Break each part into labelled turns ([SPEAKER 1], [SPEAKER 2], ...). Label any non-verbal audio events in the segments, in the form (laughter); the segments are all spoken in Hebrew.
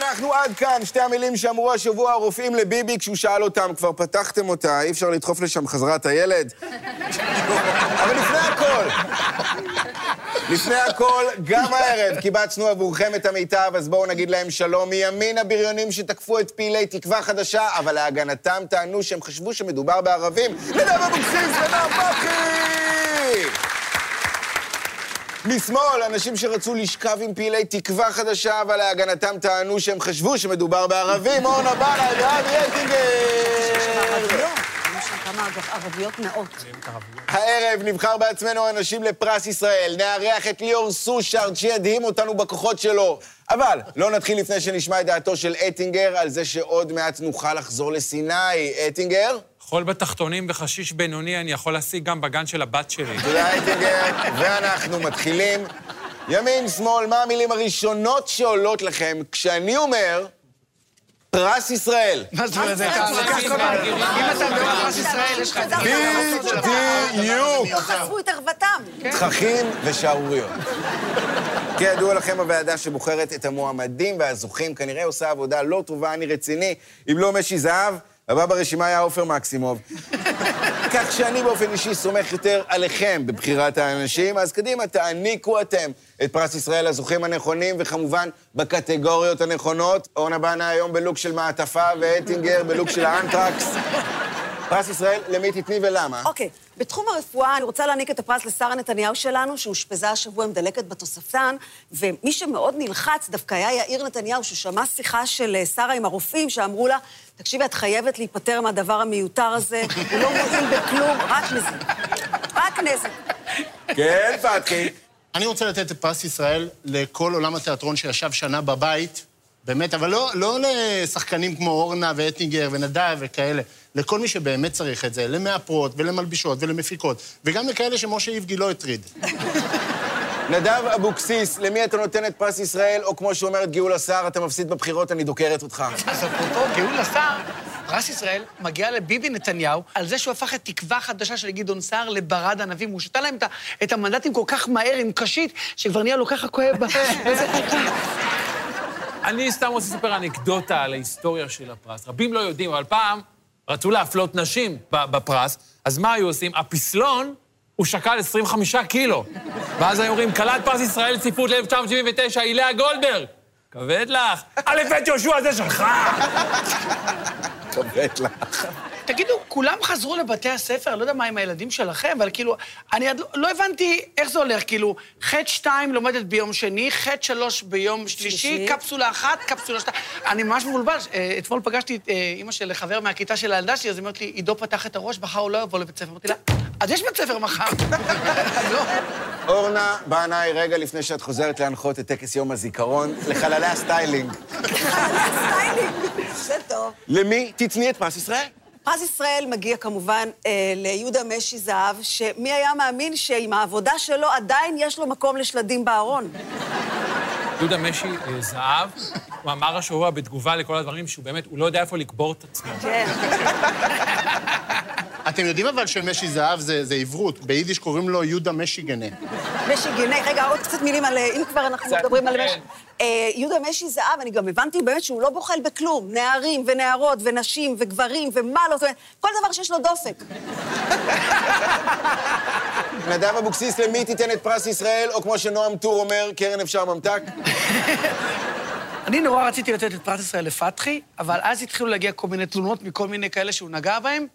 [SPEAKER 1] אנחנו עד כאן, שתי המילים שאמרו השבוע הרופאים לביבי כשהוא שאל אותם, כבר פתחתם אותה, אי אפשר לדחוף לשם חזרה את הילד? אבל לפני הכל, לפני הכל, גם הערב קיבצנו עבורכם את המיטב, אז בואו נגיד להם שלום מימין הבריונים שתקפו את פעילי תקווה חדשה, אבל להגנתם טענו שהם חשבו שמדובר בערבים. נדב אבוקסיס ונאור פרחי! משמאל, אנשים שרצו לשכב עם פעילי תקווה חדשה, אבל להגנתם טענו שהם חשבו שמדובר בערבים, אורנה בלאי ואבי אטינגר.
[SPEAKER 2] היו שם כמה אגב, ערביות נאות.
[SPEAKER 1] הערב נבחר בעצמנו אנשים לפרס ישראל, נארח את ליאור סושארד שידהים אותנו בכוחות שלו. אבל לא נתחיל לפני שנשמע את דעתו של אטינגר על זה שעוד מעט נוכל לחזור לסיני. אטינגר?
[SPEAKER 3] חול בתחתונים וחשיש בינוני אני יכול להשיג גם בגן של הבת שלי.
[SPEAKER 1] תודה, אייטינגר, ואנחנו מתחילים. ימין, שמאל, מה המילים הראשונות שעולות לכם כשאני אומר פרס ישראל?
[SPEAKER 4] מה זאת אומרת? זה
[SPEAKER 2] מה
[SPEAKER 4] תעסוקה
[SPEAKER 2] זה?
[SPEAKER 4] כל הזמן. אם אתה בעולם פרס ישראל, יש לך...
[SPEAKER 1] בדיוק.
[SPEAKER 2] לא חשפו את ערוותם.
[SPEAKER 4] כן.
[SPEAKER 1] תככים ושערוריות. (laughs) כידוע לכם, הוועדה שבוחרת את המועמדים והזוכים כנראה עושה עבודה לא טובה, אני רציני. אם לא משי זהב, הבא ברשימה היה עופר מקסימוב. (laughs) כך שאני באופן אישי סומך יותר עליכם בבחירת האנשים, אז קדימה, תעניקו אתם את פרס ישראל לזוכים הנכונים, וכמובן בקטגוריות הנכונות. אורנה בנה היום בלוק של מעטפה, ואטינגר בלוק של האנטרקס. (laughs) פרס ישראל, למי תתני ולמה?
[SPEAKER 2] אוקיי, בתחום הרפואה אני רוצה להעניק את הפרס לשרה נתניהו שלנו, שאושפזה השבוע עם דלקת בתוספתן, ומי שמאוד נלחץ דווקא היה יאיר נתניהו, ששמע שיחה של אה, שרה עם הרופאים, שאמרו לה, תקשיבי, את חייבת להיפטר מהדבר המיותר הזה, הוא לא מועיל בכלום, רק נזק. רק נזק. (laughs)
[SPEAKER 1] כן, פתחי.
[SPEAKER 5] אני רוצה לתת את פרס ישראל לכל עולם התיאטרון שישב שנה בבית, באמת, אבל לא, לא לשחקנים כמו אורנה ואטינגר ונדב וכאלה, לכל מי שבאמת צריך את זה, למאפרות ולמלבישות ולמפיקות, וגם לכאלה שמשה איבגי לא הטריד.
[SPEAKER 1] נדב אבוקסיס, למי אתה נותן את פרס ישראל, או כמו שאומרת גאולה סער, אתה מפסיד בבחירות, אני דוקרת אותך.
[SPEAKER 4] אז אפרופו גאולה סער, פרס ישראל מגיע לביבי נתניהו על זה שהוא הפך את תקווה חדשה של גדעון סער לברד ענבים. הוא שתה להם את ה- את המנדטים כל כך מהר עם קשית, שכבר נהיה לו ככה כואב. ב-
[SPEAKER 3] אני סתם רוצה לספר אנקדוטה על ההיסטוריה של הפרס. רבים לא יודעים, אבל פעם רצו להפלות נשים ב- בפרס, אז מה היו עושים? הפסלון, הוא שקל 25 קילו. ואז היו אומרים, כלת פרס ישראל צפיפות ל-1979, הילה גולדברג. כבד לך. א' ב' יהושע זה שלך.
[SPEAKER 1] כבד לך.
[SPEAKER 4] תגידו, כולם חזרו לבתי הספר, לא יודע מה עם הילדים שלכם, אבל כאילו, אני עד לא- לא הבנתי איך זה הולך, כאילו, ח' שתיים לומדת ביום שני, ח' שלוש ביום שלישי,
[SPEAKER 2] שלישי.
[SPEAKER 4] קפסולה אחת, קפסולה שתיים. אני ממש מבולבל. אה, אתמול פגשתי את אה, אימא של חבר מהכיתה של הילדה שלי, אז היא אומרת לי, עידו פתח את הראש, מחר הוא לא יבוא לבית ספר. אמרתי לה, אז יש בית ספר מחר. אז לא.
[SPEAKER 1] אורנה בנאי, רגע לפני שאת חוזרת להנחות את טקס יום הזיכרון לחללי הסטיילינג,
[SPEAKER 2] סטיילינג. זה טוב.
[SPEAKER 1] למי תתני את פרס ישראל?
[SPEAKER 2] פרס ישראל מגיע כמובן אה, ליהודה משי זהב, שמי היה מאמין שעם העבודה שלו עדיין יש לו מקום לשלדים בארון.
[SPEAKER 3] יהודה משי אה, זהב, הוא אמר השבוע בתגובה לכל הדברים שהוא באמת, הוא לא יודע איפה לקבור את עצמו.
[SPEAKER 2] כן.
[SPEAKER 5] אתם יודעים אבל שמשי זהב זה, זה עברות, ביידיש קוראים לו יהודה משיגנה.
[SPEAKER 2] משי גיני, רגע, עוד קצת מילים על... אה, אם כבר אנחנו
[SPEAKER 3] קצת,
[SPEAKER 2] מדברים על
[SPEAKER 3] כן.
[SPEAKER 2] משי... אה, יהודה משי זהב, אני גם הבנתי באמת שהוא לא בוחל בכלום. נערים ונערות ונשים וגברים ומה לא, זאת אומרת, כל דבר שיש לו דופק.
[SPEAKER 1] נדב אבוקסיס, למי תיתן את פרס ישראל, או כמו שנועם טור אומר, קרן אפשר ממתק?
[SPEAKER 4] אני נורא רציתי לתת את פרס ישראל לפתחי, אבל אז התחילו להגיע כל מיני תלונות מכל מיני כאלה שהוא נגע בהם.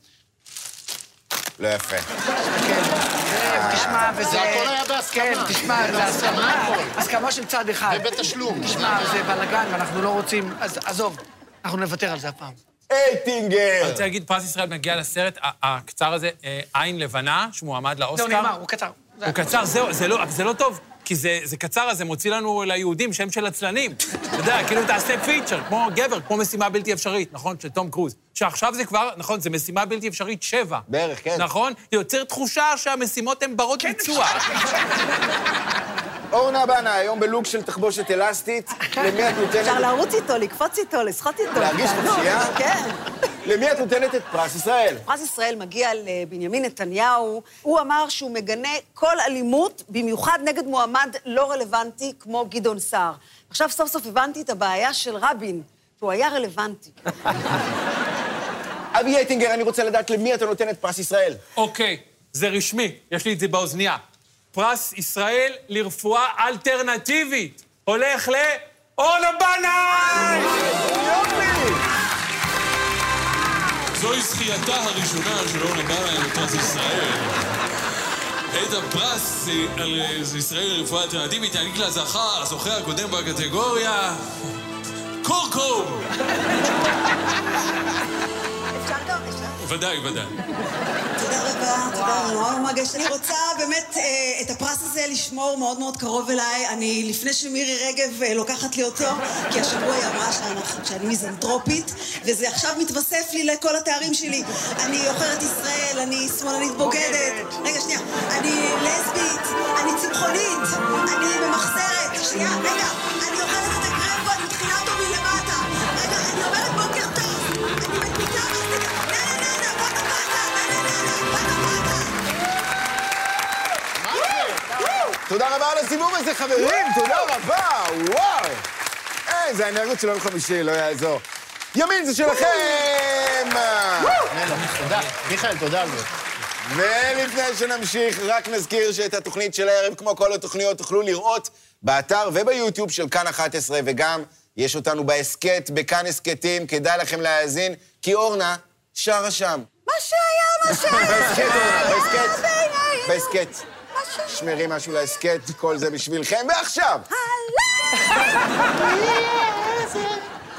[SPEAKER 1] לא יפה.
[SPEAKER 4] כן, תשמע, וזה...
[SPEAKER 5] זה הכל היה בהסכמה.
[SPEAKER 4] כן, תשמע, זה הסכמה, הסכמה של צד אחד.
[SPEAKER 5] ובתשלום. כן.
[SPEAKER 4] תשמע, זה בלאגן, ואנחנו לא רוצים... אז עזוב, אנחנו נוותר על זה הפעם.
[SPEAKER 1] אייטינגר!
[SPEAKER 3] אני רוצה להגיד, פרס ישראל מגיע לסרט ה- הקצר הזה, אה, עין לבנה, שמועמד לאוסקר.
[SPEAKER 4] זהו, נגמר, לא, הוא קצר. זה-
[SPEAKER 3] הוא קצר, זהו, זה לא, אבל זה לא טוב, כי זה, זה קצר, אז זה מוציא לנו ליהודים שם של עצלנים. אתה יודע, כאילו תעשה פיצ'ר, כמו גבר, כמו משימה בלתי אפשרית, נכון? של תום קרוז. שעכשיו זה כבר, נכון, זה משימה בלתי אפשרית שבע.
[SPEAKER 1] בערך, כן.
[SPEAKER 3] נכון? זה יוצר תחושה שהמשימות הן ברות
[SPEAKER 4] כן,
[SPEAKER 3] ביצוע.
[SPEAKER 1] אורנה בנה, היום בלוק של תחבושת אלסטית, למי את
[SPEAKER 2] אפשר
[SPEAKER 1] נותנת?
[SPEAKER 2] לרוץ איתו, לקפוץ איתו, לשחות איתו.
[SPEAKER 1] להרגיש
[SPEAKER 2] תענוג,
[SPEAKER 1] חופשייה?
[SPEAKER 2] כן.
[SPEAKER 1] למי את נותנת את פרס ישראל?
[SPEAKER 2] פרס ישראל מגיע לבנימין נתניהו. הוא אמר שהוא מגנה כל אלימות, במיוחד נגד מועמד לא רלוונטי כמו גדעון סער. עכשיו סוף סוף הבנתי את הבעיה של רבין, שהוא היה רלוונטי.
[SPEAKER 1] אבי אייטינגר, אני רוצה לדעת למי אתה נותן את פרס ישראל.
[SPEAKER 3] אוקיי, זה רשמי, יש לי את זה באוזנייה. פרס ישראל לרפואה אלטרנטיבית הולך לאורנה בנאי!
[SPEAKER 6] זוהי זכייתה הראשונה של אורנה בנאי בפרס ישראל. את הפרס אה, על אה, זה ישראל לרפואה אלטרנטיבית יעניק לה זכה, הזוכה הקודם בקטגוריה, קורקו!
[SPEAKER 2] אפשר גם, אפשר.
[SPEAKER 6] ודאי, ודאי.
[SPEAKER 7] תודה רבה, תודה נורא מרגש. אני רוצה באמת אה, את הפרס הזה לשמור מאוד מאוד קרוב אליי. אני, לפני שמירי רגב אה, לוקחת לי אותו, כי השבוע היא אמרה שאנחנו- שאני מיזנטרופית, וזה עכשיו מתווסף לי לכל התארים שלי. אני עוכרת ישראל, אני שמאלנית בוגדת. רגע, שנייה. אני לסבית, אני צמחונית, אני ממחזרת. שנייה, רגע. אני אוכלת את הקרב ואני מתחילה אותו מלמטה. רגע, אני אומרת בוקר טוב. אני מפיתה מסטיק. נה נה נה נה, בוא נבטה. נה נה נה נה, בוא נבטה.
[SPEAKER 1] תודה רבה על הסיבוב הזה, חברים! תודה רבה! וואו! אין, זה האנרגיות של יום חמישי, לא יעזור. ימין זה שלכם!
[SPEAKER 5] מלך, תודה. מיכאל, תודה על זה.
[SPEAKER 1] ולפני שנמשיך, רק נזכיר שאת התוכנית של הערב, כמו כל התוכניות, תוכלו לראות באתר וביוטיוב של כאן 11, וגם יש אותנו בהסכת, בכאן הסכתים, כדאי לכם להאזין, כי אורנה שרה שם.
[SPEAKER 2] (laughs) מה שהיה, מה שהיה.
[SPEAKER 1] (laughs) בהסכת, אורנה, בהסכת.
[SPEAKER 2] (laughs) בעיניי.
[SPEAKER 1] בהסכת. שמרי משהו להסכת, כל זה בשבילכם, ועכשיו!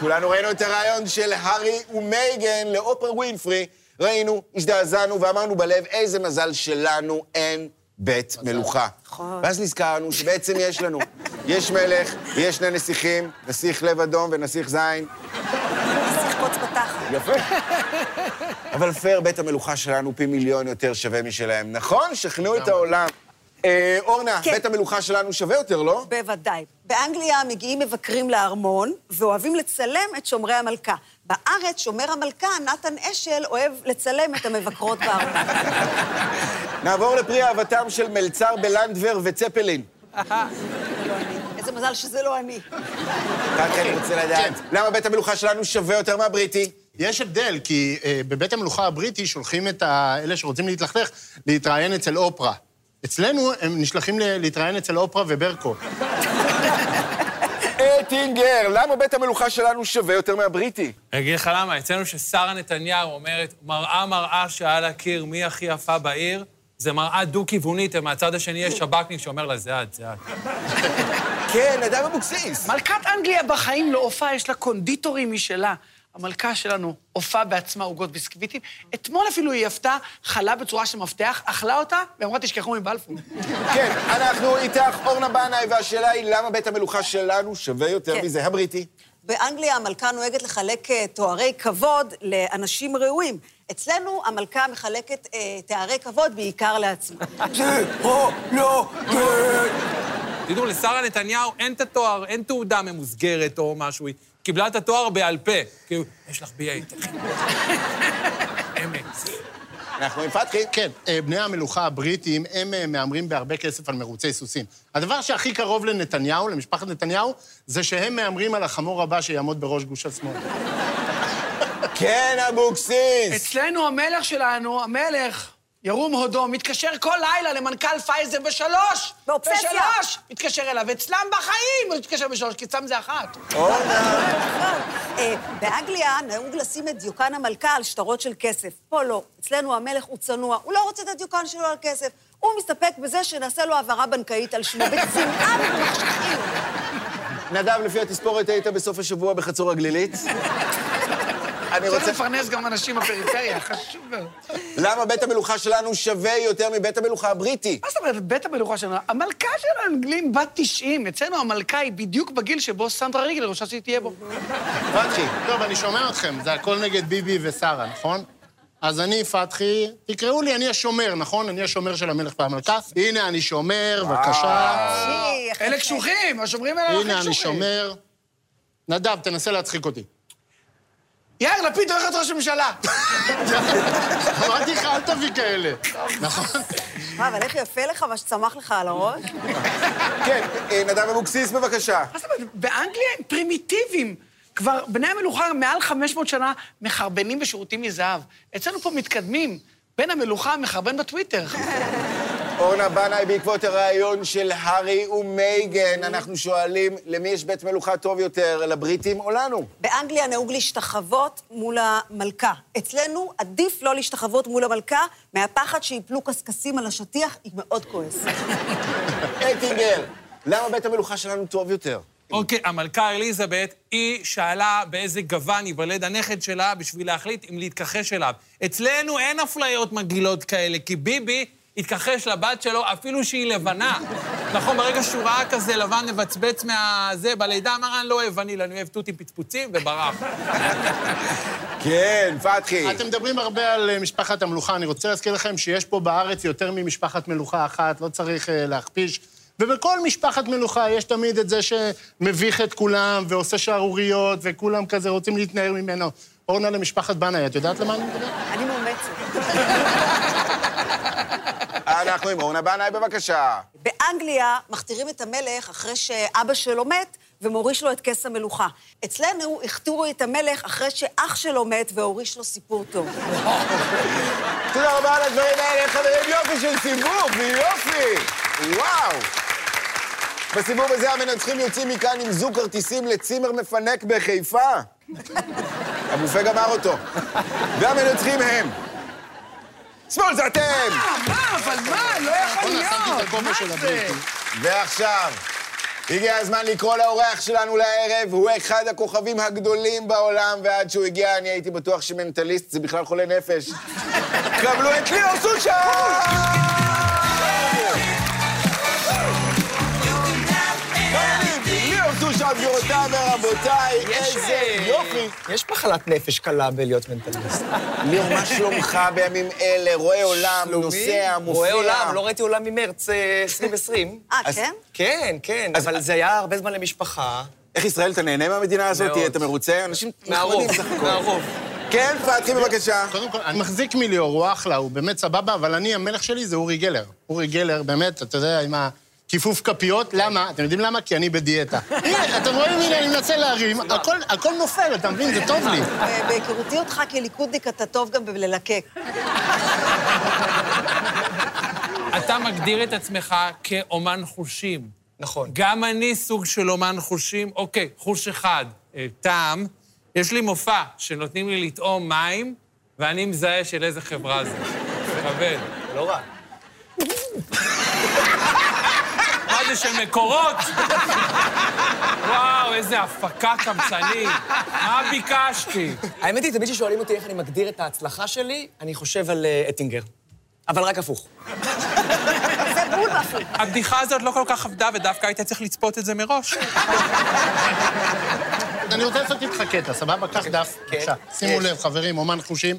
[SPEAKER 1] כולנו ראינו את הרעיון של הארי ומייגן לאופרה ווינפרי, ראינו, הזדעזענו ואמרנו בלב, איזה מזל שלנו אין בית מלוכה.
[SPEAKER 2] נכון.
[SPEAKER 1] ואז נזכרנו שבעצם יש לנו. יש מלך, יש שני נסיכים, נסיך לב אדום ונסיך זין.
[SPEAKER 2] צריך קוץ בתחת.
[SPEAKER 1] יפה.
[SPEAKER 5] אוקיי.
[SPEAKER 1] אבל פייר, בית המלוכה שלנו פי מיליון יותר שווה משלהם, נכון? שכנעו את העולם. אה, אורנה,
[SPEAKER 2] כן.
[SPEAKER 1] בית המלוכה שלנו שווה יותר, לא?
[SPEAKER 2] בוודאי. באנגליה מגיעים מבקרים לארמון, ואוהבים לצלם את שומרי המלכה. בארץ, שומר המלכה, נתן אשל, אוהב לצלם את המבקרות בארמון.
[SPEAKER 1] נעבור לפרי אהבתם של מלצר בלנדבר וצפלין.
[SPEAKER 2] איזה מזל שזה לא אני.
[SPEAKER 1] רק אני רוצה לדעת, למה בית המלוכה שלנו שווה יותר מהבריטי?
[SPEAKER 5] יש הבדל, כי אה, בבית המלוכה הבריטי שולחים את ה- אלה שרוצים להתלכלך להתראיין אצל אופרה. אצלנו הם נשלחים ל- להתראיין אצל אופרה וברקו.
[SPEAKER 1] אטינגר, למה בית המלוכה שלנו שווה יותר מהבריטי?
[SPEAKER 3] אני אגיד לך למה, אצלנו ששרה נתניהו אומרת, מראה מראה שעל הקיר, מי הכי יפה בעיר, זה מראה דו-כיוונית, ומהצד השני יש שב"כניק שאומר לה, זה את, זה את.
[SPEAKER 1] כן, אדם אבוקסיס.
[SPEAKER 4] (laughs) מלכת אנגליה בחיים לא הופעה, יש לה קונדיטורים משלה. המלכה שלנו הופעה בעצמה עוגות ביסקוויטים. אתמול אפילו היא עפתה חלה בצורה של מפתח, אכלה אותה, ואמרה, תשכחו מבלפור.
[SPEAKER 1] כן, אנחנו איתך, אורנה בנאי, והשאלה היא למה בית המלוכה שלנו שווה יותר
[SPEAKER 2] כן.
[SPEAKER 1] מזה, הבריטי?
[SPEAKER 2] באנגליה המלכה נוהגת לחלק אה, תוארי כבוד לאנשים ראויים. אצלנו המלכה מחלקת אה, תארי כבוד בעיקר לעצמה. (laughs)
[SPEAKER 1] לא
[SPEAKER 3] תדעו, לשרה נתניהו אין את התואר, אין תעודה ממוסגרת או משהו, היא קיבלה את התואר בעל פה. כאילו, יש לך B.A. תלכי. אמת.
[SPEAKER 1] אנחנו עם פתחי.
[SPEAKER 5] כן, אה, בני המלוכה הבריטים, הם אה, מהמרים בהרבה כסף על מרוצי סוסים. הדבר שהכי קרוב לנתניהו, למשפחת נתניהו, זה שהם מהמרים על החמור הבא שיעמוד בראש גוש השמאל.
[SPEAKER 1] כן, אבוקסיס.
[SPEAKER 4] אצלנו המלך שלנו, המלך, ירום הודו, מתקשר כל לילה למנכ"ל פייזר בשלוש.
[SPEAKER 2] באובססיה.
[SPEAKER 4] בשלוש! מתקשר אליו, אצלם בחיים הוא מתקשר בשלוש, כי אצלם זה אחת.
[SPEAKER 1] אורנה.
[SPEAKER 2] אה, באנגליה נהוג לשים את דיוקן המלכה על שטרות של כסף. פה לא. אצלנו המלך הוא צנוע, הוא לא רוצה את הדיוקן שלו על כסף. הוא מסתפק בזה שנעשה לו העברה בנקאית על שמו, בצנעה ובמחשכים.
[SPEAKER 1] נדב, לפי התספורת היית בסוף השבוע בחצור הגלילית? אני
[SPEAKER 4] צריך
[SPEAKER 1] רוצה...
[SPEAKER 4] לפרנס גם אנשים בפריפריה, חשוב מאוד.
[SPEAKER 1] למה בית המלוכה שלנו שווה יותר מבית המלוכה הבריטי?
[SPEAKER 4] מה זאת אומרת, בית המלוכה שלנו, המלכה של האנגלים בת 90, אצלנו המלכה היא בדיוק בגיל שבו סנדרה ריגלר רוצה שהיא תהיה בו.
[SPEAKER 5] פתחי, טוב, אני שומע אתכם, זה הכל נגד ביבי ושרה, נכון? אז אני, פתחי, תקראו לי, אני השומר, נכון? אני השומר של המלך והמלכה. הנה, אני שומר, בבקשה.
[SPEAKER 2] אה, איך
[SPEAKER 4] אלה
[SPEAKER 2] יפה.
[SPEAKER 4] קשוחים, השומרים האלה הכי
[SPEAKER 5] הנה, אני
[SPEAKER 4] קשוחים.
[SPEAKER 5] שומר. נדב, תנסה להצחיק אותי.
[SPEAKER 4] יאיר לפיד הולך להיות ראש ממשלה.
[SPEAKER 5] (laughs) אמרתי לך, אל תביא כאלה. נכון?
[SPEAKER 2] מה, אה, אבל איך יפה לך מה שצמח לך על הראש?
[SPEAKER 1] כן, אה, נדב אבוקסיס, בבקשה.
[SPEAKER 4] מה זאת אומרת? באנגליה הם פרימיטיביים. כבר בני המלוכה מעל 500 שנה מחרבנים בשירותים מזהב. אצלנו פה מתקדמים. בן המלוכה מחרבן בטוויטר.
[SPEAKER 1] אורנה בנאי, בעקבות הרעיון של הארי ומייגן, אנחנו שואלים, למי יש בית מלוכה טוב יותר, לבריטים או לנו?
[SPEAKER 2] באנגליה נהוג להשתחוות מול המלכה. אצלנו עדיף לא להשתחוות מול המלכה, מהפחד שיפלו קשקשים על השטיח, היא מאוד כועסת.
[SPEAKER 1] אטינגר, למה בית המלוכה שלנו טוב יותר?
[SPEAKER 3] אוקיי, המלכה אליזבת, היא שאלה באיזה גוון ייוולד הנכד שלה בשביל להחליט אם להתכחש אליו. אצלנו אין אפליות מגעילות כאלה, כי ביבי התכחש לבת שלו אפילו שהיא לבנה. נכון, ברגע שהוא ראה כזה לבן מבצבץ מהזה, בלידה אמר, אני לא אוהב וניל, אני אוהב תות עם פצפוצים, וברח.
[SPEAKER 1] כן, פתחי.
[SPEAKER 5] אתם מדברים הרבה על אה, משפחת המלוכה. אני רוצה להזכיר לכם שיש פה בארץ יותר ממשפחת מלוכה אחת, לא צריך אה, להכפיש. ובכל משפחת מלוכה יש תמיד את זה שמביך את כולם ועושה שערוריות, וכולם כזה רוצים להתנער ממנו. אורנה למשפחת בנאי, את יודעת למה אני מדבר?
[SPEAKER 2] אני מאומצת.
[SPEAKER 1] אנחנו עם אורנה בנאי, בבקשה.
[SPEAKER 2] באנגליה מכתירים את המלך אחרי שאבא שלו מת ומוריש לו את כס המלוכה. אצלנו הכתירו את המלך אחרי שאח שלו מת והוריש לו סיפור טוב. אה,
[SPEAKER 1] תודה רבה על הדברים האלה, חברים. יופי של סיבוב, יופי. וואו. בסיבוב הזה המנצחים יוצאים מכאן עם זוג כרטיסים לצימר מפנק בחיפה. הבופה גמר אותו. והמנצחים הם... שמאל זה אתם!
[SPEAKER 4] מה, מה, אבל מה? לא יכול
[SPEAKER 5] אורנה, שמתי את
[SPEAKER 4] להיות.
[SPEAKER 5] הכובע
[SPEAKER 4] מה
[SPEAKER 5] של
[SPEAKER 4] זה?
[SPEAKER 5] הבריטים.
[SPEAKER 1] ועכשיו, הגיע הזמן לקרוא לאורח שלנו לערב, הוא אחד הכוכבים הגדולים בעולם, ועד שהוא הגיע אני הייתי בטוח שמנטליסט זה בכלל חולה נפש. קבלו את ליאור סושה! ליאור סושה, גבירותיי ורבותיי, איזה יופי.
[SPEAKER 8] אה, יש מחלת נפש קלה בלהיות מנטליסט.
[SPEAKER 1] ליאור, מה שלומך בימים אלה? רואה עולם, נוסע, מופיע.
[SPEAKER 8] רואה עולם, לא ראיתי עולם ממרץ אה, 2020.
[SPEAKER 2] אה,
[SPEAKER 1] אז-
[SPEAKER 2] כן?
[SPEAKER 8] (laughs) כן, כן, אבל זה היה הרבה זמן למשפחה.
[SPEAKER 1] איך ישראל, אתה נהנה מהמדינה הזאת?
[SPEAKER 8] מאוד.
[SPEAKER 1] אתה מרוצה? אנשים
[SPEAKER 8] מהרוב,
[SPEAKER 1] נחמדים סך הכול.
[SPEAKER 8] מהרוב.
[SPEAKER 1] כן, פתחי בבקשה.
[SPEAKER 5] קודם כל, אני מחזיק מליאור, הוא אחלה, הוא באמת סבבה, אבל אני, המלך שלי זה אורי גלר. אורי גלר, באמת, אתה יודע, עם הכיפוף כפיות, למה? אתם יודעים למה? כי אני בדיאטה. הנה, אתם רואים, הנה, אני מנסה להרים, הכל- הכל נופל, אתה מבין? זה טוב לי.
[SPEAKER 2] ב- בהיכרותי אותך כליכודניק, אתה טוב גם בללקק.
[SPEAKER 3] אתה מגדיר את עצמך כאומן חושים.
[SPEAKER 8] נכון.
[SPEAKER 3] גם אני סוג של אומן חושים. אוקיי, חוש אחד, אה, טעם. יש לי מופע שנותנים לי לטעום מים, ואני מזהה של איזה חברה זה. מקבל.
[SPEAKER 8] לא רע.
[SPEAKER 3] מה זה של מקורות? וואו, איזה הפקה קמצנית. מה ביקשתי?
[SPEAKER 8] האמת היא, תמיד כששואלים אותי איך אני מגדיר את ההצלחה שלי, אני חושב על אה, אטינגר. אבל רק הפוך.
[SPEAKER 2] זה בול בפוך.
[SPEAKER 3] הבדיחה הזאת לא כל כך עבדה, ודווקא היית צריך לצפות את זה מראש.
[SPEAKER 5] אני רוצה לעשות איתך קטע, סבבה? קח דף,
[SPEAKER 8] כן,
[SPEAKER 5] בבקשה. שימו לב, חברים, אומן חושים.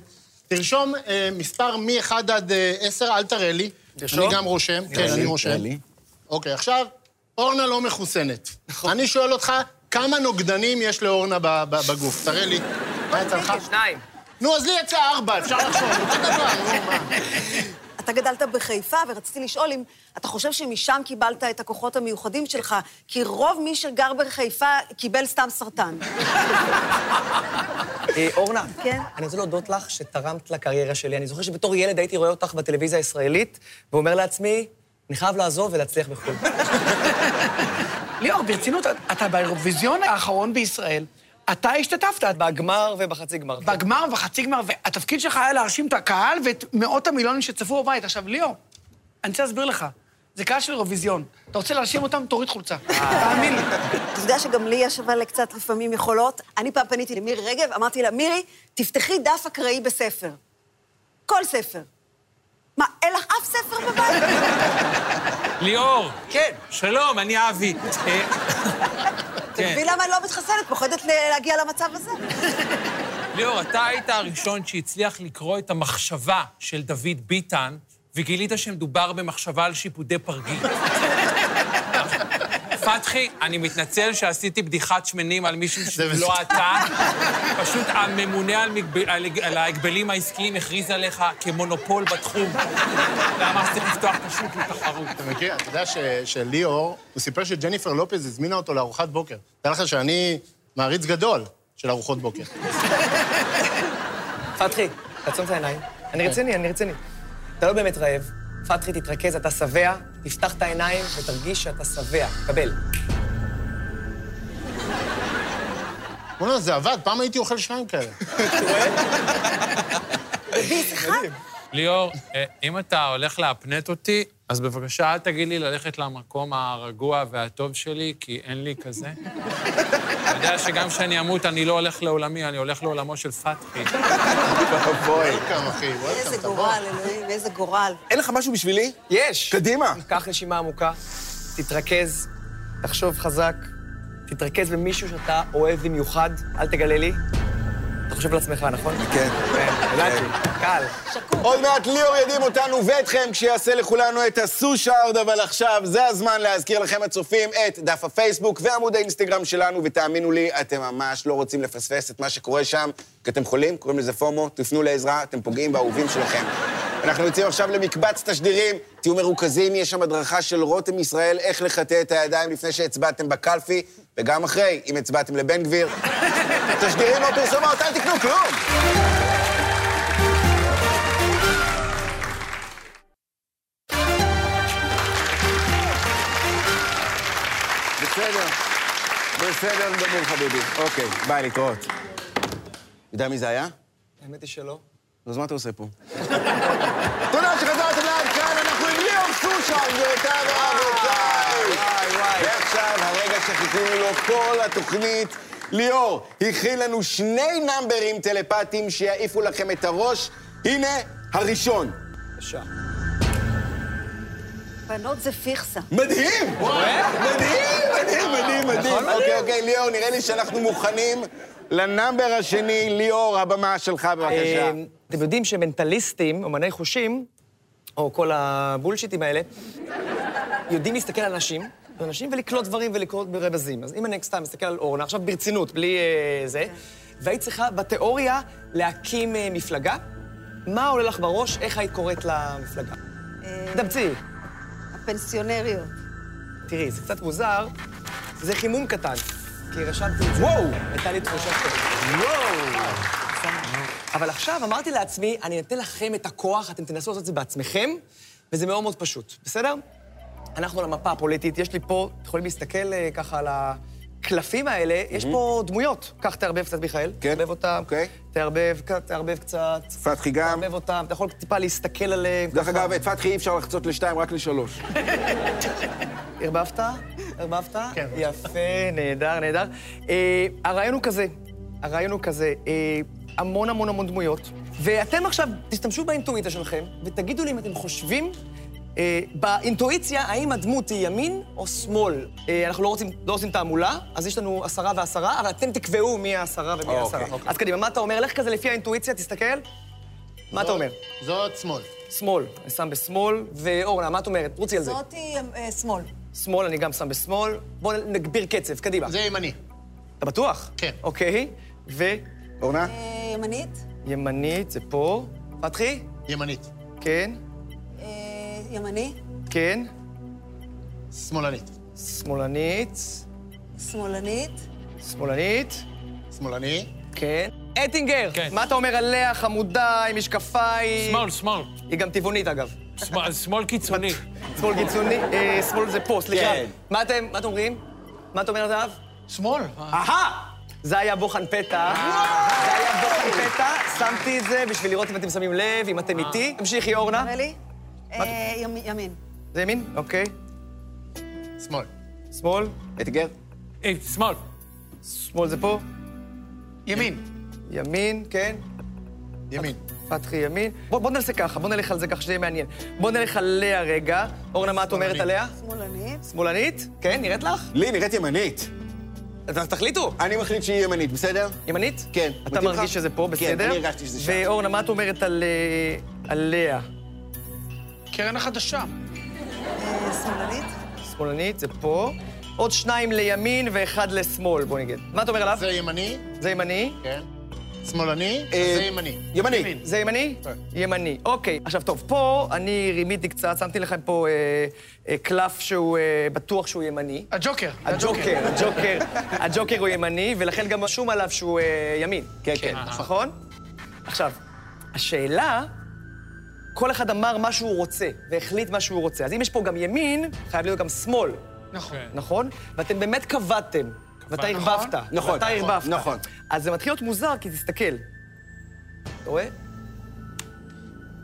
[SPEAKER 5] תרשום אה, מספר מ-1 עד 10, אל תראה לי.
[SPEAKER 8] תרשום?
[SPEAKER 5] אני גם רושם, כן, אני רושם. אוקיי, עכשיו, אורנה לא מחוסנת.
[SPEAKER 8] נכון.
[SPEAKER 5] אני שואל אותך, כמה נוגדנים יש לאורנה ב- ב- בגוף? תראה לי. מה יצא לך?
[SPEAKER 8] אוקיי, שניים.
[SPEAKER 5] נו, אז לי יצא ארבע, אפשר לחשוב, אותו דבר, נו, מה.
[SPEAKER 2] אתה גדלת בחיפה, ורציתי לשאול אם אתה חושב שמשם קיבלת את הכוחות המיוחדים שלך, כי רוב מי שגר בחיפה קיבל סתם סרטן.
[SPEAKER 8] אה, אורנה,
[SPEAKER 2] כן?
[SPEAKER 8] אני רוצה להודות לך שתרמת לקריירה שלי. אני זוכר שבתור ילד הייתי רואה אותך בטלוויזיה הישראלית, ואומר לעצמי, אני חייב לעזוב ולהצליח בחו"ל.
[SPEAKER 4] ליאור, ברצינות, אתה באירוויזיון האחרון בישראל, אתה השתתפת, את
[SPEAKER 8] בגמר ובחצי גמר.
[SPEAKER 4] בגמר ובחצי גמר, והתפקיד שלך היה להרשים את הקהל ואת מאות המיליונים שצפו בבית. עכשיו, ליאור, אני רוצה להסביר לך, זה קהל של אירוויזיון. אתה רוצה להרשים אותם? תוריד חולצה. תאמין לי.
[SPEAKER 2] אתה יודע שגם לי יש אבל קצת לפעמים יכולות. אני פעם פניתי למירי רגב, אמרתי לה, מירי, תפתחי דף אקראי בספר. כל ספר. מה, אין לך אף ספר בבית?
[SPEAKER 3] ליאור.
[SPEAKER 8] כן.
[SPEAKER 3] שלום, אני אבי. אה, כן.
[SPEAKER 2] אתה מבין למה אני לא מתחסנת? פוחדת ל- להגיע למצב
[SPEAKER 8] (laughs)
[SPEAKER 2] הזה.
[SPEAKER 3] ליאור, אתה היית הראשון שהצליח לקרוא את המחשבה של דוד ביטן, וגילית שמדובר במחשבה על שיפודי פרגית. פתחי, אני מתנצל שעשיתי בדיחת שמנים על מישהו
[SPEAKER 5] זה
[SPEAKER 3] שהוא לא
[SPEAKER 5] בסדר.
[SPEAKER 3] אתה. פשוט הממונה על, מגב... על... על ההגבלים העסקיים הכריז עליך כמונופול בתחום. ואמר שצריך לפתוח את השוק לתחרות.
[SPEAKER 5] אתה מכיר, אתה יודע ש- שליאור, הוא סיפר שג'ניפר לופז הזמינה אותו לארוחת בוקר. תאר לך שאני מעריץ גדול של ארוחות בוקר.
[SPEAKER 8] פתחי, תעצום את העיניים. אני רציני, אני רציני. אתה לא באמת רעב. פתחי, תתרכז, אתה שבע, תפתח את העיניים ותרגיש שאתה שבע. קבל.
[SPEAKER 5] בוא'נה, זה עבד, פעם הייתי אוכל שניים כאלה.
[SPEAKER 3] ליאור, אה, אם אתה הולך להפנט אותי, אז בבקשה אל תגיד לי ללכת למקום הרגוע והטוב שלי, כי אין לי כזה. אתה יודע שגם כשאני אמות, אני לא הולך לעולמי, אני הולך לעולמו של פתחי.
[SPEAKER 1] בואי.
[SPEAKER 5] וולקאם, אחי,
[SPEAKER 2] איזה
[SPEAKER 5] וולקאם, תבוא.
[SPEAKER 2] גורל, אלוהים, איזה גורל.
[SPEAKER 1] אין לך משהו בשבילי?
[SPEAKER 8] יש!
[SPEAKER 1] קדימה.
[SPEAKER 8] קח נשימה עמוקה, תתרכז, תחשוב חזק, תתרכז במישהו שאתה אוהב במיוחד, אל תגלה לי. אתה חושב על עצמך, נכון?
[SPEAKER 1] כן.
[SPEAKER 8] כן, ידעתי, קל.
[SPEAKER 1] עוד מעט ליאור ידהים אותנו ואתכם כשיעשה לכולנו את הסושארד, אבל עכשיו זה הזמן להזכיר לכם הצופים את דף הפייסבוק ועמוד האינסטגרם שלנו, ותאמינו לי, אתם ממש לא רוצים לפספס את מה שקורה שם, כי אתם חולים, קוראים לזה פומו, תפנו לעזרה, אתם פוגעים באהובים שלכם. אנחנו יוצאים עכשיו למקבץ תשדירים, תהיו מרוכזים, יש שם הדרכה של רותם ישראל איך לחטא את הידיים לפני שהצבעתם בקלפי, וגם אחרי, אם הצבעתם לבן גביר. תשדירים או פרסומות, אל תקנו כלום! בסדר, בסדר גמור חביבי. אוקיי, ביי, להתראות. יודע מי זה היה?
[SPEAKER 8] האמת היא שלא.
[SPEAKER 1] אז מה אתה עושה פה? תודה שחזרתם לעד כאן, אנחנו עם ליאור סושן, גבירותיי ורבותיי. ועכשיו הרגע שחיכינו לו כל התוכנית. ליאור, הכין לנו שני נאמברים טלפטיים שיעיפו לכם את הראש. הנה הראשון.
[SPEAKER 8] בבקשה.
[SPEAKER 2] בנות זה פיכסה.
[SPEAKER 1] מדהים! מדהים, מדהים, מדהים, מדהים. אוקיי, אוקיי, ליאור, נראה לי שאנחנו מוכנים לנאמבר השני. ליאור, הבמה שלך, בבקשה.
[SPEAKER 8] אה, אתם יודעים שמנטליסטים, אומני חושים, או כל הבולשיטים האלה, יודעים להסתכל על אנשים, על אנשים ולקלוט דברים ולקלוט ברמזים. אז אם אני סתם מסתכל על אורנה, עכשיו ברצינות, בלי אה, זה, והיית צריכה בתיאוריה להקים אה, מפלגה, מה עולה לך בראש, איך היית קוראת למפלגה? דמצי,
[SPEAKER 2] הפנסיונריות.
[SPEAKER 8] תראי, זה קצת מוזר, זה חימום קטן, כי רשמתי את זה.
[SPEAKER 1] וואו!
[SPEAKER 8] הייתה לי תחושה כזאת. וואו! אבל עכשיו אמרתי לעצמי, אני אתן לכם את הכוח, אתם תנסו לעשות את זה בעצמכם, וזה מאוד מאוד פשוט, בסדר? אנחנו על המפה הפוליטית, יש לי פה, אתם יכולים להסתכל אה, ככה על הקלפים האלה, יש פה דמויות. קח, תערבב קצת, מיכאל.
[SPEAKER 1] כן,
[SPEAKER 8] תערבב אותם,
[SPEAKER 1] אוקיי.
[SPEAKER 8] תערבב, ק- תערבב קצת,
[SPEAKER 1] פתחי גם.
[SPEAKER 8] תערבב אותם, אתה יכול טיפה להסתכל עליהם.
[SPEAKER 1] דרך
[SPEAKER 8] ככה.
[SPEAKER 1] אגב, את פתחי אי אפשר לחצות לשתיים, רק לשלוש.
[SPEAKER 8] ערבבת? ערבבת?
[SPEAKER 5] כן.
[SPEAKER 8] יפה, נהדר, נהדר. אה, הרעיון הוא כזה, הרעיון הוא כזה, אה, המון המון המון דמויות, ואתם עכשיו תשתמשו באינטואיציה שלכם, ותגידו לי אם אתם חושבים אה, באינטואיציה האם הדמות היא ימין או שמאל. אה, אנחנו לא רוצים, לא עושים תעמולה, אז יש לנו עשרה ועשרה, אבל אתם תקבעו מי העשרה ומי
[SPEAKER 1] אוקיי,
[SPEAKER 8] העשרה.
[SPEAKER 1] אוקיי.
[SPEAKER 8] אז קדימה, מה אתה אומר? לך כזה לפי האינטואיציה, תסתכל.
[SPEAKER 1] לא.
[SPEAKER 8] מה אתה אומר?
[SPEAKER 5] זאת שמאל.
[SPEAKER 8] שמאל, אני שם בשמאל, ואורנה, מה את אומרת? רוצי על זה.
[SPEAKER 7] זאתי אה, שמאל.
[SPEAKER 8] שמאל, אני גם שם בשמאל. בואו נגביר קצב, קדימה.
[SPEAKER 5] זה ימני.
[SPEAKER 8] אתה בטוח?
[SPEAKER 5] כן.
[SPEAKER 8] אוקיי,
[SPEAKER 1] אורנה?
[SPEAKER 7] אה, ימנית?
[SPEAKER 8] וימנית זה פה. פתחי?
[SPEAKER 5] ימנית.
[SPEAKER 8] כן,
[SPEAKER 7] אה, ימני?
[SPEAKER 8] כן.
[SPEAKER 5] שמאלנית.
[SPEAKER 8] שמאלנית,
[SPEAKER 7] שמאלנית?
[SPEAKER 8] שמאלנית,
[SPEAKER 5] שמאלני.
[SPEAKER 8] כן. אטינגר,
[SPEAKER 3] כן.
[SPEAKER 8] מה אתה אומר עליה, חמודה, עם משקפיים?
[SPEAKER 3] שמאל, שמאל.
[SPEAKER 8] היא גם טבעונית, אגב.
[SPEAKER 3] שמאל- שמאל קיצוני.
[SPEAKER 8] שמאל קיצוני, אה, שמאל זה פה, סליחה.
[SPEAKER 1] כן.
[SPEAKER 8] מה אתם, מה אתם אומרים? מה אתה אומר, זהב?
[SPEAKER 4] שמאל.
[SPEAKER 8] אהה! זה היה בוחן פתע. זה היה בוחן פתע, שמתי את זה בשביל לראות אם אתם שמים לב, אם אתם איתי. תמשיכי, אורנה.
[SPEAKER 7] נראה לי? אה, ימ- ימין.
[SPEAKER 8] זה ימין? אוקיי.
[SPEAKER 5] שמאל.
[SPEAKER 8] שמאל?
[SPEAKER 1] אתגר?
[SPEAKER 3] אה, שמאל.
[SPEAKER 8] שמאל זה פה?
[SPEAKER 4] ימין.
[SPEAKER 8] ימין, כן.
[SPEAKER 5] ימין.
[SPEAKER 8] פתחי ימין. בוא, בוא נעשה ככה, בוא נלך על זה ככה שזה יהיה מעניין. בוא נלך עליה רגע. אורנה, מה את אומרת
[SPEAKER 5] שמאלנית.
[SPEAKER 8] עליה?
[SPEAKER 7] שמאלנית?
[SPEAKER 8] שמאלנית? כן, נראית לך?
[SPEAKER 1] לי נראית ימנית.
[SPEAKER 8] אז תחליטו.
[SPEAKER 1] אני מחליט שהיא ימנית, בסדר?
[SPEAKER 8] ימנית?
[SPEAKER 1] כן,
[SPEAKER 8] אתה
[SPEAKER 1] מתאים לך?
[SPEAKER 8] מרגיש שזה פה,
[SPEAKER 1] כן,
[SPEAKER 8] בסדר?
[SPEAKER 1] אני הרגשתי שזה שם.
[SPEAKER 8] ואורנה, מה את אומרת על... אה, עליה?
[SPEAKER 4] קרן החדשה.
[SPEAKER 7] אה, שמאלנית?
[SPEAKER 8] שמאלנית, זה פה. עוד שניים לימין ואחד לשמאל, בוא נגיד. מה אתה אומר עליו?
[SPEAKER 5] זה ימני.
[SPEAKER 8] זה ימני?
[SPEAKER 5] כן. שמאלני, אז
[SPEAKER 1] אה,
[SPEAKER 5] זה ימני.
[SPEAKER 1] ימני.
[SPEAKER 8] זה ימני?
[SPEAKER 1] אה.
[SPEAKER 5] כן.
[SPEAKER 8] ימני. אוקיי. עכשיו, טוב, פה אני רימיתי קצת, שמתי לכם פה אה, אה, קלף שהוא אה, בטוח שהוא ימני.
[SPEAKER 4] הג'וקר. אוקיי.
[SPEAKER 8] הג'וקר, הג'וקר, הג'וקר הוא ימני, ולכן גם רשום עליו שהוא אה, ימין.
[SPEAKER 1] כן, כן.
[SPEAKER 8] נכון? עכשיו, השאלה, כל אחד אמר מה שהוא רוצה, והחליט מה שהוא רוצה. אז אם יש פה גם ימין, חייב להיות גם שמאל,
[SPEAKER 4] נכון.
[SPEAKER 1] כן.
[SPEAKER 8] נכון? ואתם באמת קבעתם, ואתה ערבבת.
[SPEAKER 1] נכון,
[SPEAKER 8] ואתה
[SPEAKER 1] נכון,
[SPEAKER 8] ערבבת.
[SPEAKER 1] נכון.
[SPEAKER 8] אז זה מתחיל להיות מוזר, כי תסתכל. אתה רואה?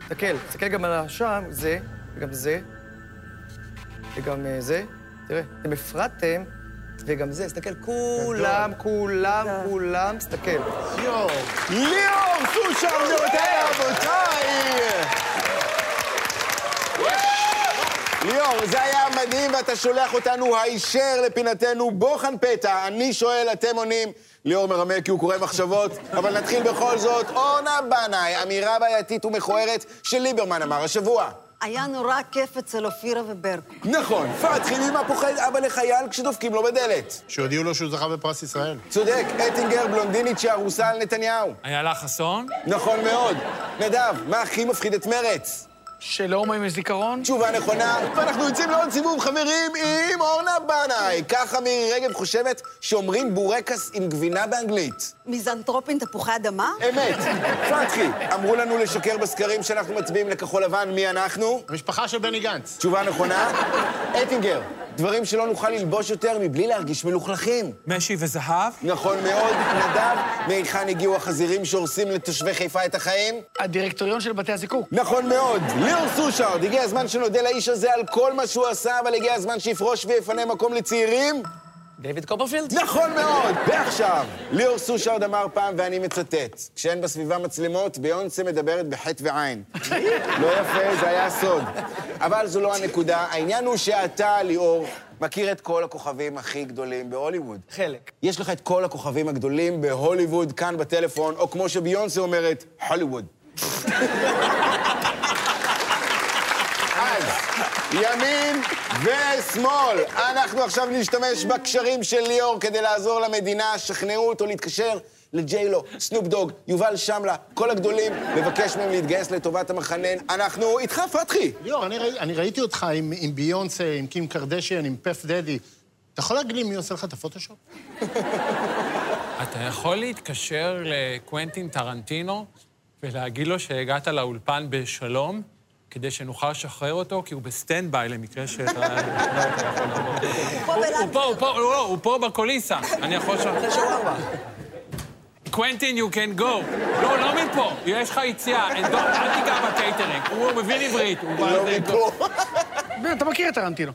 [SPEAKER 8] תסתכל, תסתכל גם על השם, זה, וגם זה, וגם אה, זה. תראה, אתם הפרדתם, וגם זה, תסתכל,
[SPEAKER 1] לא.
[SPEAKER 8] כולם, כולם, כולם, תסתכל.
[SPEAKER 5] יואו.
[SPEAKER 1] ליאור סושרדות, היי רבותיי! ליאור, זה היה מדהים, ואתה שולח אותנו הישר לפינתנו בוחן פתע. אני שואל, אתם עונים. ליאור מרמה כי הוא קורא מחשבות, אבל נתחיל בכל זאת. אורנה בנאי, אמירה בעייתית ומכוערת שליברמן אמר השבוע.
[SPEAKER 2] היה נורא כיף אצל אופירה וברקו.
[SPEAKER 1] נכון, פתחי, ממה פוחד אבא לחייל כשדופקים לו בדלת?
[SPEAKER 5] שהודיעו לו שהוא זכה בפרס ישראל.
[SPEAKER 1] צודק, אטינגר בלונדינית שארוסה על נתניהו.
[SPEAKER 3] איילה חסון?
[SPEAKER 1] נכון מאוד. נדב, מה הכי מפחיד את מרץ?
[SPEAKER 4] שלהומואים יש זיכרון?
[SPEAKER 1] תשובה נכונה, ואנחנו יוצאים לעוד סיבוב, חברים, עם אורנה בנאי. ככה מירי רגב חושבת שאומרים בורקס עם גבינה באנגלית.
[SPEAKER 2] מיזנטרופין תפוחי אדמה?
[SPEAKER 1] אמת. פתחי, אמרו לנו לשקר בסקרים שאנחנו מצביעים לכחול לבן, מי אנחנו?
[SPEAKER 5] המשפחה של בני גנץ.
[SPEAKER 1] תשובה נכונה, אטינגר, דברים שלא נוכל ללבוש יותר מבלי להרגיש מלוכלכים.
[SPEAKER 3] משי וזהב?
[SPEAKER 1] נכון מאוד, נדב, מהיכן הגיעו החזירים שהורסים לתושבי חיפה את החיים?
[SPEAKER 4] הדירקטוריון של בתי הזיקוק.
[SPEAKER 1] נכון מאוד. ליאור סושארד, הגיע הזמן שנודה לאיש הזה על כל מה שהוא עשה, אבל הגיע הזמן שיפרוש ויפנה מקום לצעירים?
[SPEAKER 8] דויד קופרפילד?
[SPEAKER 1] נכון מאוד. ועכשיו, ליאור סושארד אמר פעם, ואני מצטט, כשאין בסביבה מצלמות, ביונסה מדברת בחטא ועין. לא יפה, זה היה סוד. אבל זו לא הנקודה. העניין הוא שאתה, ליאור, מכיר את כל הכוכבים הכי גדולים בהוליווד.
[SPEAKER 8] חלק.
[SPEAKER 1] יש לך את כל הכוכבים הגדולים בהוליווד, כאן בטלפון, או כמו שביונסה אומרת, הוליווד. אז, ימין ושמאל. אנחנו עכשיו נשתמש בקשרים של ליאור כדי לעזור למדינה, שכנעו אותו להתקשר לג'יילו, סנופ דוג, יובל שמלה, כל הגדולים, לבקש מהם להתגייס לטובת המחנן. אנחנו איתך, פתחי.
[SPEAKER 5] ליאור, אני, ראי, אני ראיתי אותך עם, עם ביונסה, עם קים קרדשן, עם פף דדי. אתה יכול להגלים מי עושה לך את הפוטושופ?
[SPEAKER 3] אתה יכול להתקשר לקוונטין טרנטינו ולהגיד לו שהגעת לאולפן בשלום, כדי שנוכל לשחרר אותו, כי הוא בסטנד-ביי למקרה שאתה...
[SPEAKER 7] אה,
[SPEAKER 2] פה
[SPEAKER 3] הוא-
[SPEAKER 2] בלנד.
[SPEAKER 3] הוא פה, הוא פה, לא, לא, הוא פה בקוליסה. אני יכול לשחרר...
[SPEAKER 7] אה,
[SPEAKER 3] קוונטין, you can go. לא, לא מפה. יש לך יציאה. And don't- אל תיגע בקייטרינג. הוא מבין עברית. הוא בא
[SPEAKER 1] לא
[SPEAKER 3] לזה איתו.
[SPEAKER 1] מפה.
[SPEAKER 4] באמת, אתה מכיר את טרנטינו.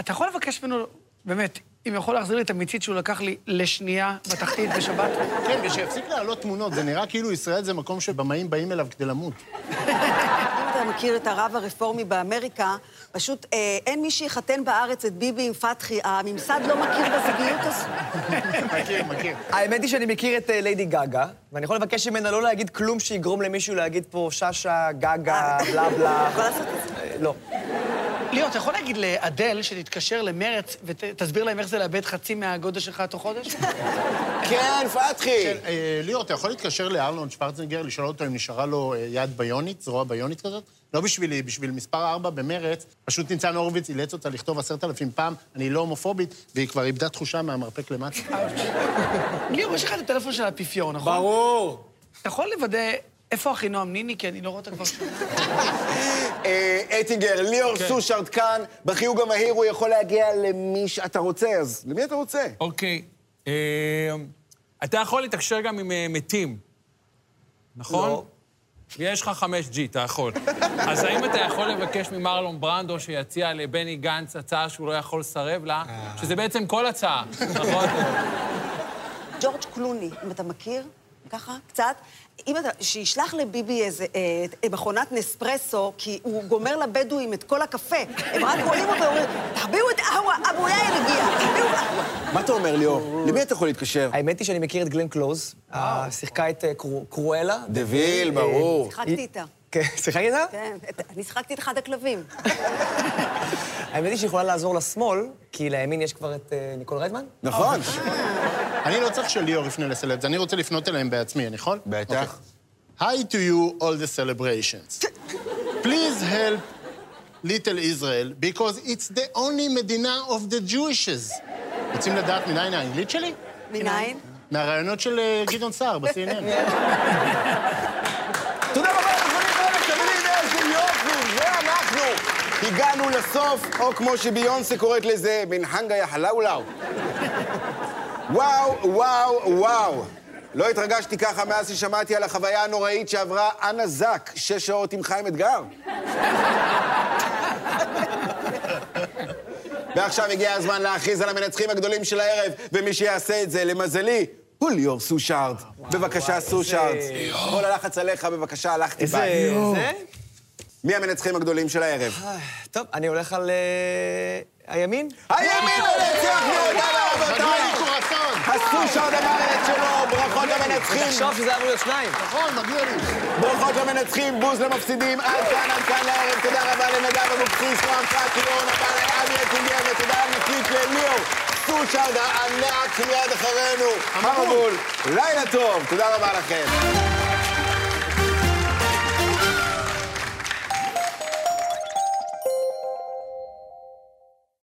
[SPEAKER 4] אתה יכול לבקש ממנו, באמת, אם יכול להחזיר לי את המיצית שהוא לקח לי לשנייה בתחתית בשבת?
[SPEAKER 5] כן, ושיפסיק להעלות תמונות, זה נראה כאילו ישראל זה מקום שבמאים באים אליו כדי למות.
[SPEAKER 2] אם אתה מכיר את הרב הרפורמי באמריקה, פשוט אה, אין מי שיחתן בארץ את ביבי עם פתחי, הממסד לא מכיר בזוגיות הזו.
[SPEAKER 5] מכיר, מכיר.
[SPEAKER 8] האמת היא שאני מכיר את אה, ליידי גאגה, ואני יכול לבקש ממנה לא להגיד כלום שיגרום למישהו להגיד פה שאשא, גאגה, בלה בלה.
[SPEAKER 2] (laughs) יכול לעשות את זה.
[SPEAKER 8] אה, לא.
[SPEAKER 4] ליאור, אתה יכול להגיד לאדל שתתקשר למרץ ותסביר להם איך זה לאבד חצי מהגודל שלך תוך חודש?
[SPEAKER 1] כן, פתחי.
[SPEAKER 5] כן, אה, ליאור, אתה יכול להתקשר לארלון שוורצנגר, לשאול אותו אם נשארה לו אה, יד ביונית, זרוע ביונית כזאת? לא בשבילי, בשביל מספר 4 במרץ, פשוט ניצן הורוביץ אילץ אותה לכתוב עשרת אלפים פעם, אני לא הומופובית, והיא כבר איבדה תחושה מהמרפק למטה.
[SPEAKER 4] ליאור, יש לך את הטלפון של האפיפיור, נכון?
[SPEAKER 8] ברור.
[SPEAKER 4] אתה יכול לוודא איפה אחינועם ניני? כי אני לא רואה אותה כבר שנה.
[SPEAKER 1] אה, אטינגר, ליאור סושארד כאן, בחיוג המהיר הוא יכול להגיע למי שאתה רוצה, אז למי אתה רוצה?
[SPEAKER 3] אוקיי. אה, אתה יכול לתקשר גם עם אה, מתים, נכון?
[SPEAKER 8] לא.
[SPEAKER 3] יש לך 5G, אתה יכול.
[SPEAKER 1] (laughs)
[SPEAKER 3] אז האם אתה יכול לבקש ממרלון ברנדו שיציע לבני גנץ הצעה שהוא לא יכול לסרב לה,
[SPEAKER 1] אה.
[SPEAKER 3] שזה בעצם כל הצעה, נכון?
[SPEAKER 2] ג'ורג' קלוני, אם אתה מכיר, ככה, קצת, אם אתה, שישלח לביבי איזה אה, מכונת נספרסו, כי הוא גומר לבדואים את כל הקפה. הם רק רואים אותו ואומרים, תחביאו את אהווה, אבו יאיר הגיע, תחביאו את אהווה.
[SPEAKER 1] מה אתה אומר, ליאור? למי אתה יכול להתקשר?
[SPEAKER 8] האמת היא שאני מכיר את גלן קלוז, אה, שיחקה את אה, קרו- קרואלה.
[SPEAKER 1] דביל, ברור.
[SPEAKER 2] שיחקתי איתה.
[SPEAKER 8] כן, (laughs) שיחקת איתה?
[SPEAKER 2] כן, את- אני שיחקתי את אחד הכלבים.
[SPEAKER 8] האמת היא שהיא יכולה לעזור לשמאל, כי לימין יש כבר את אה, ניקול ריידמן.
[SPEAKER 1] נכון.
[SPEAKER 5] אני לא צריך שליאור יפנה לסלבס, אני רוצה לפנות אליהם בעצמי, אני יכול? אוקיי.
[SPEAKER 1] בטח.
[SPEAKER 5] Hi to you all the celebrations. Please help little Israel, because it's the only מדינה of the Jewishes. רוצים לדעת מניין האנגלית שלי?
[SPEAKER 2] מניין?
[SPEAKER 5] מהרעיונות של אה, גדעון סער ב-CNN.
[SPEAKER 1] תודה רבה לכולם, מקבלים איזה יופי, זה אנחנו. הגענו לסוף, או כמו שביונסה קוראת לזה, מנהנגה יחלאולאו. וואו, וואו, וואו. לא התרגשתי ככה מאז ששמעתי על החוויה הנוראית שעברה אנה זק, שש שעות עם חיים אתגר. ועכשיו הגיע הזמן להכריז על המנצחים הגדולים של הערב, ומי שיעשה את זה, למזלי, הוא ליאור סושארד. בבקשה, סושארד. כל הלחץ עליך, בבקשה, הלכתי
[SPEAKER 8] איזה...
[SPEAKER 1] ביי.
[SPEAKER 8] זה? אה,
[SPEAKER 1] מי המנצחים הגדולים של הערב?
[SPEAKER 8] טוב, אני הולך על... אה, הימין?
[SPEAKER 1] הימין מנצח מעודד
[SPEAKER 5] מנוי
[SPEAKER 8] (laughs)
[SPEAKER 1] רבותיי!
[SPEAKER 5] קורסון!
[SPEAKER 1] הסושארד אמר את שלו, ברכות למנצחים,
[SPEAKER 8] תחשוב שזה אמור להיות שניים.
[SPEAKER 5] נכון, מגיע לי.
[SPEAKER 1] ברכות למנצחים, בוז למפסידים, עד כאן, עד כאן לערב, תודה רבה לנדב אבוקסיס, נועם פאקי, אורנה בלעי, אבי אטינגר, ותודה ענקית לליאור סושארד הענק, מיד אחרינו, המבול, לילה טוב, תודה רבה לכם.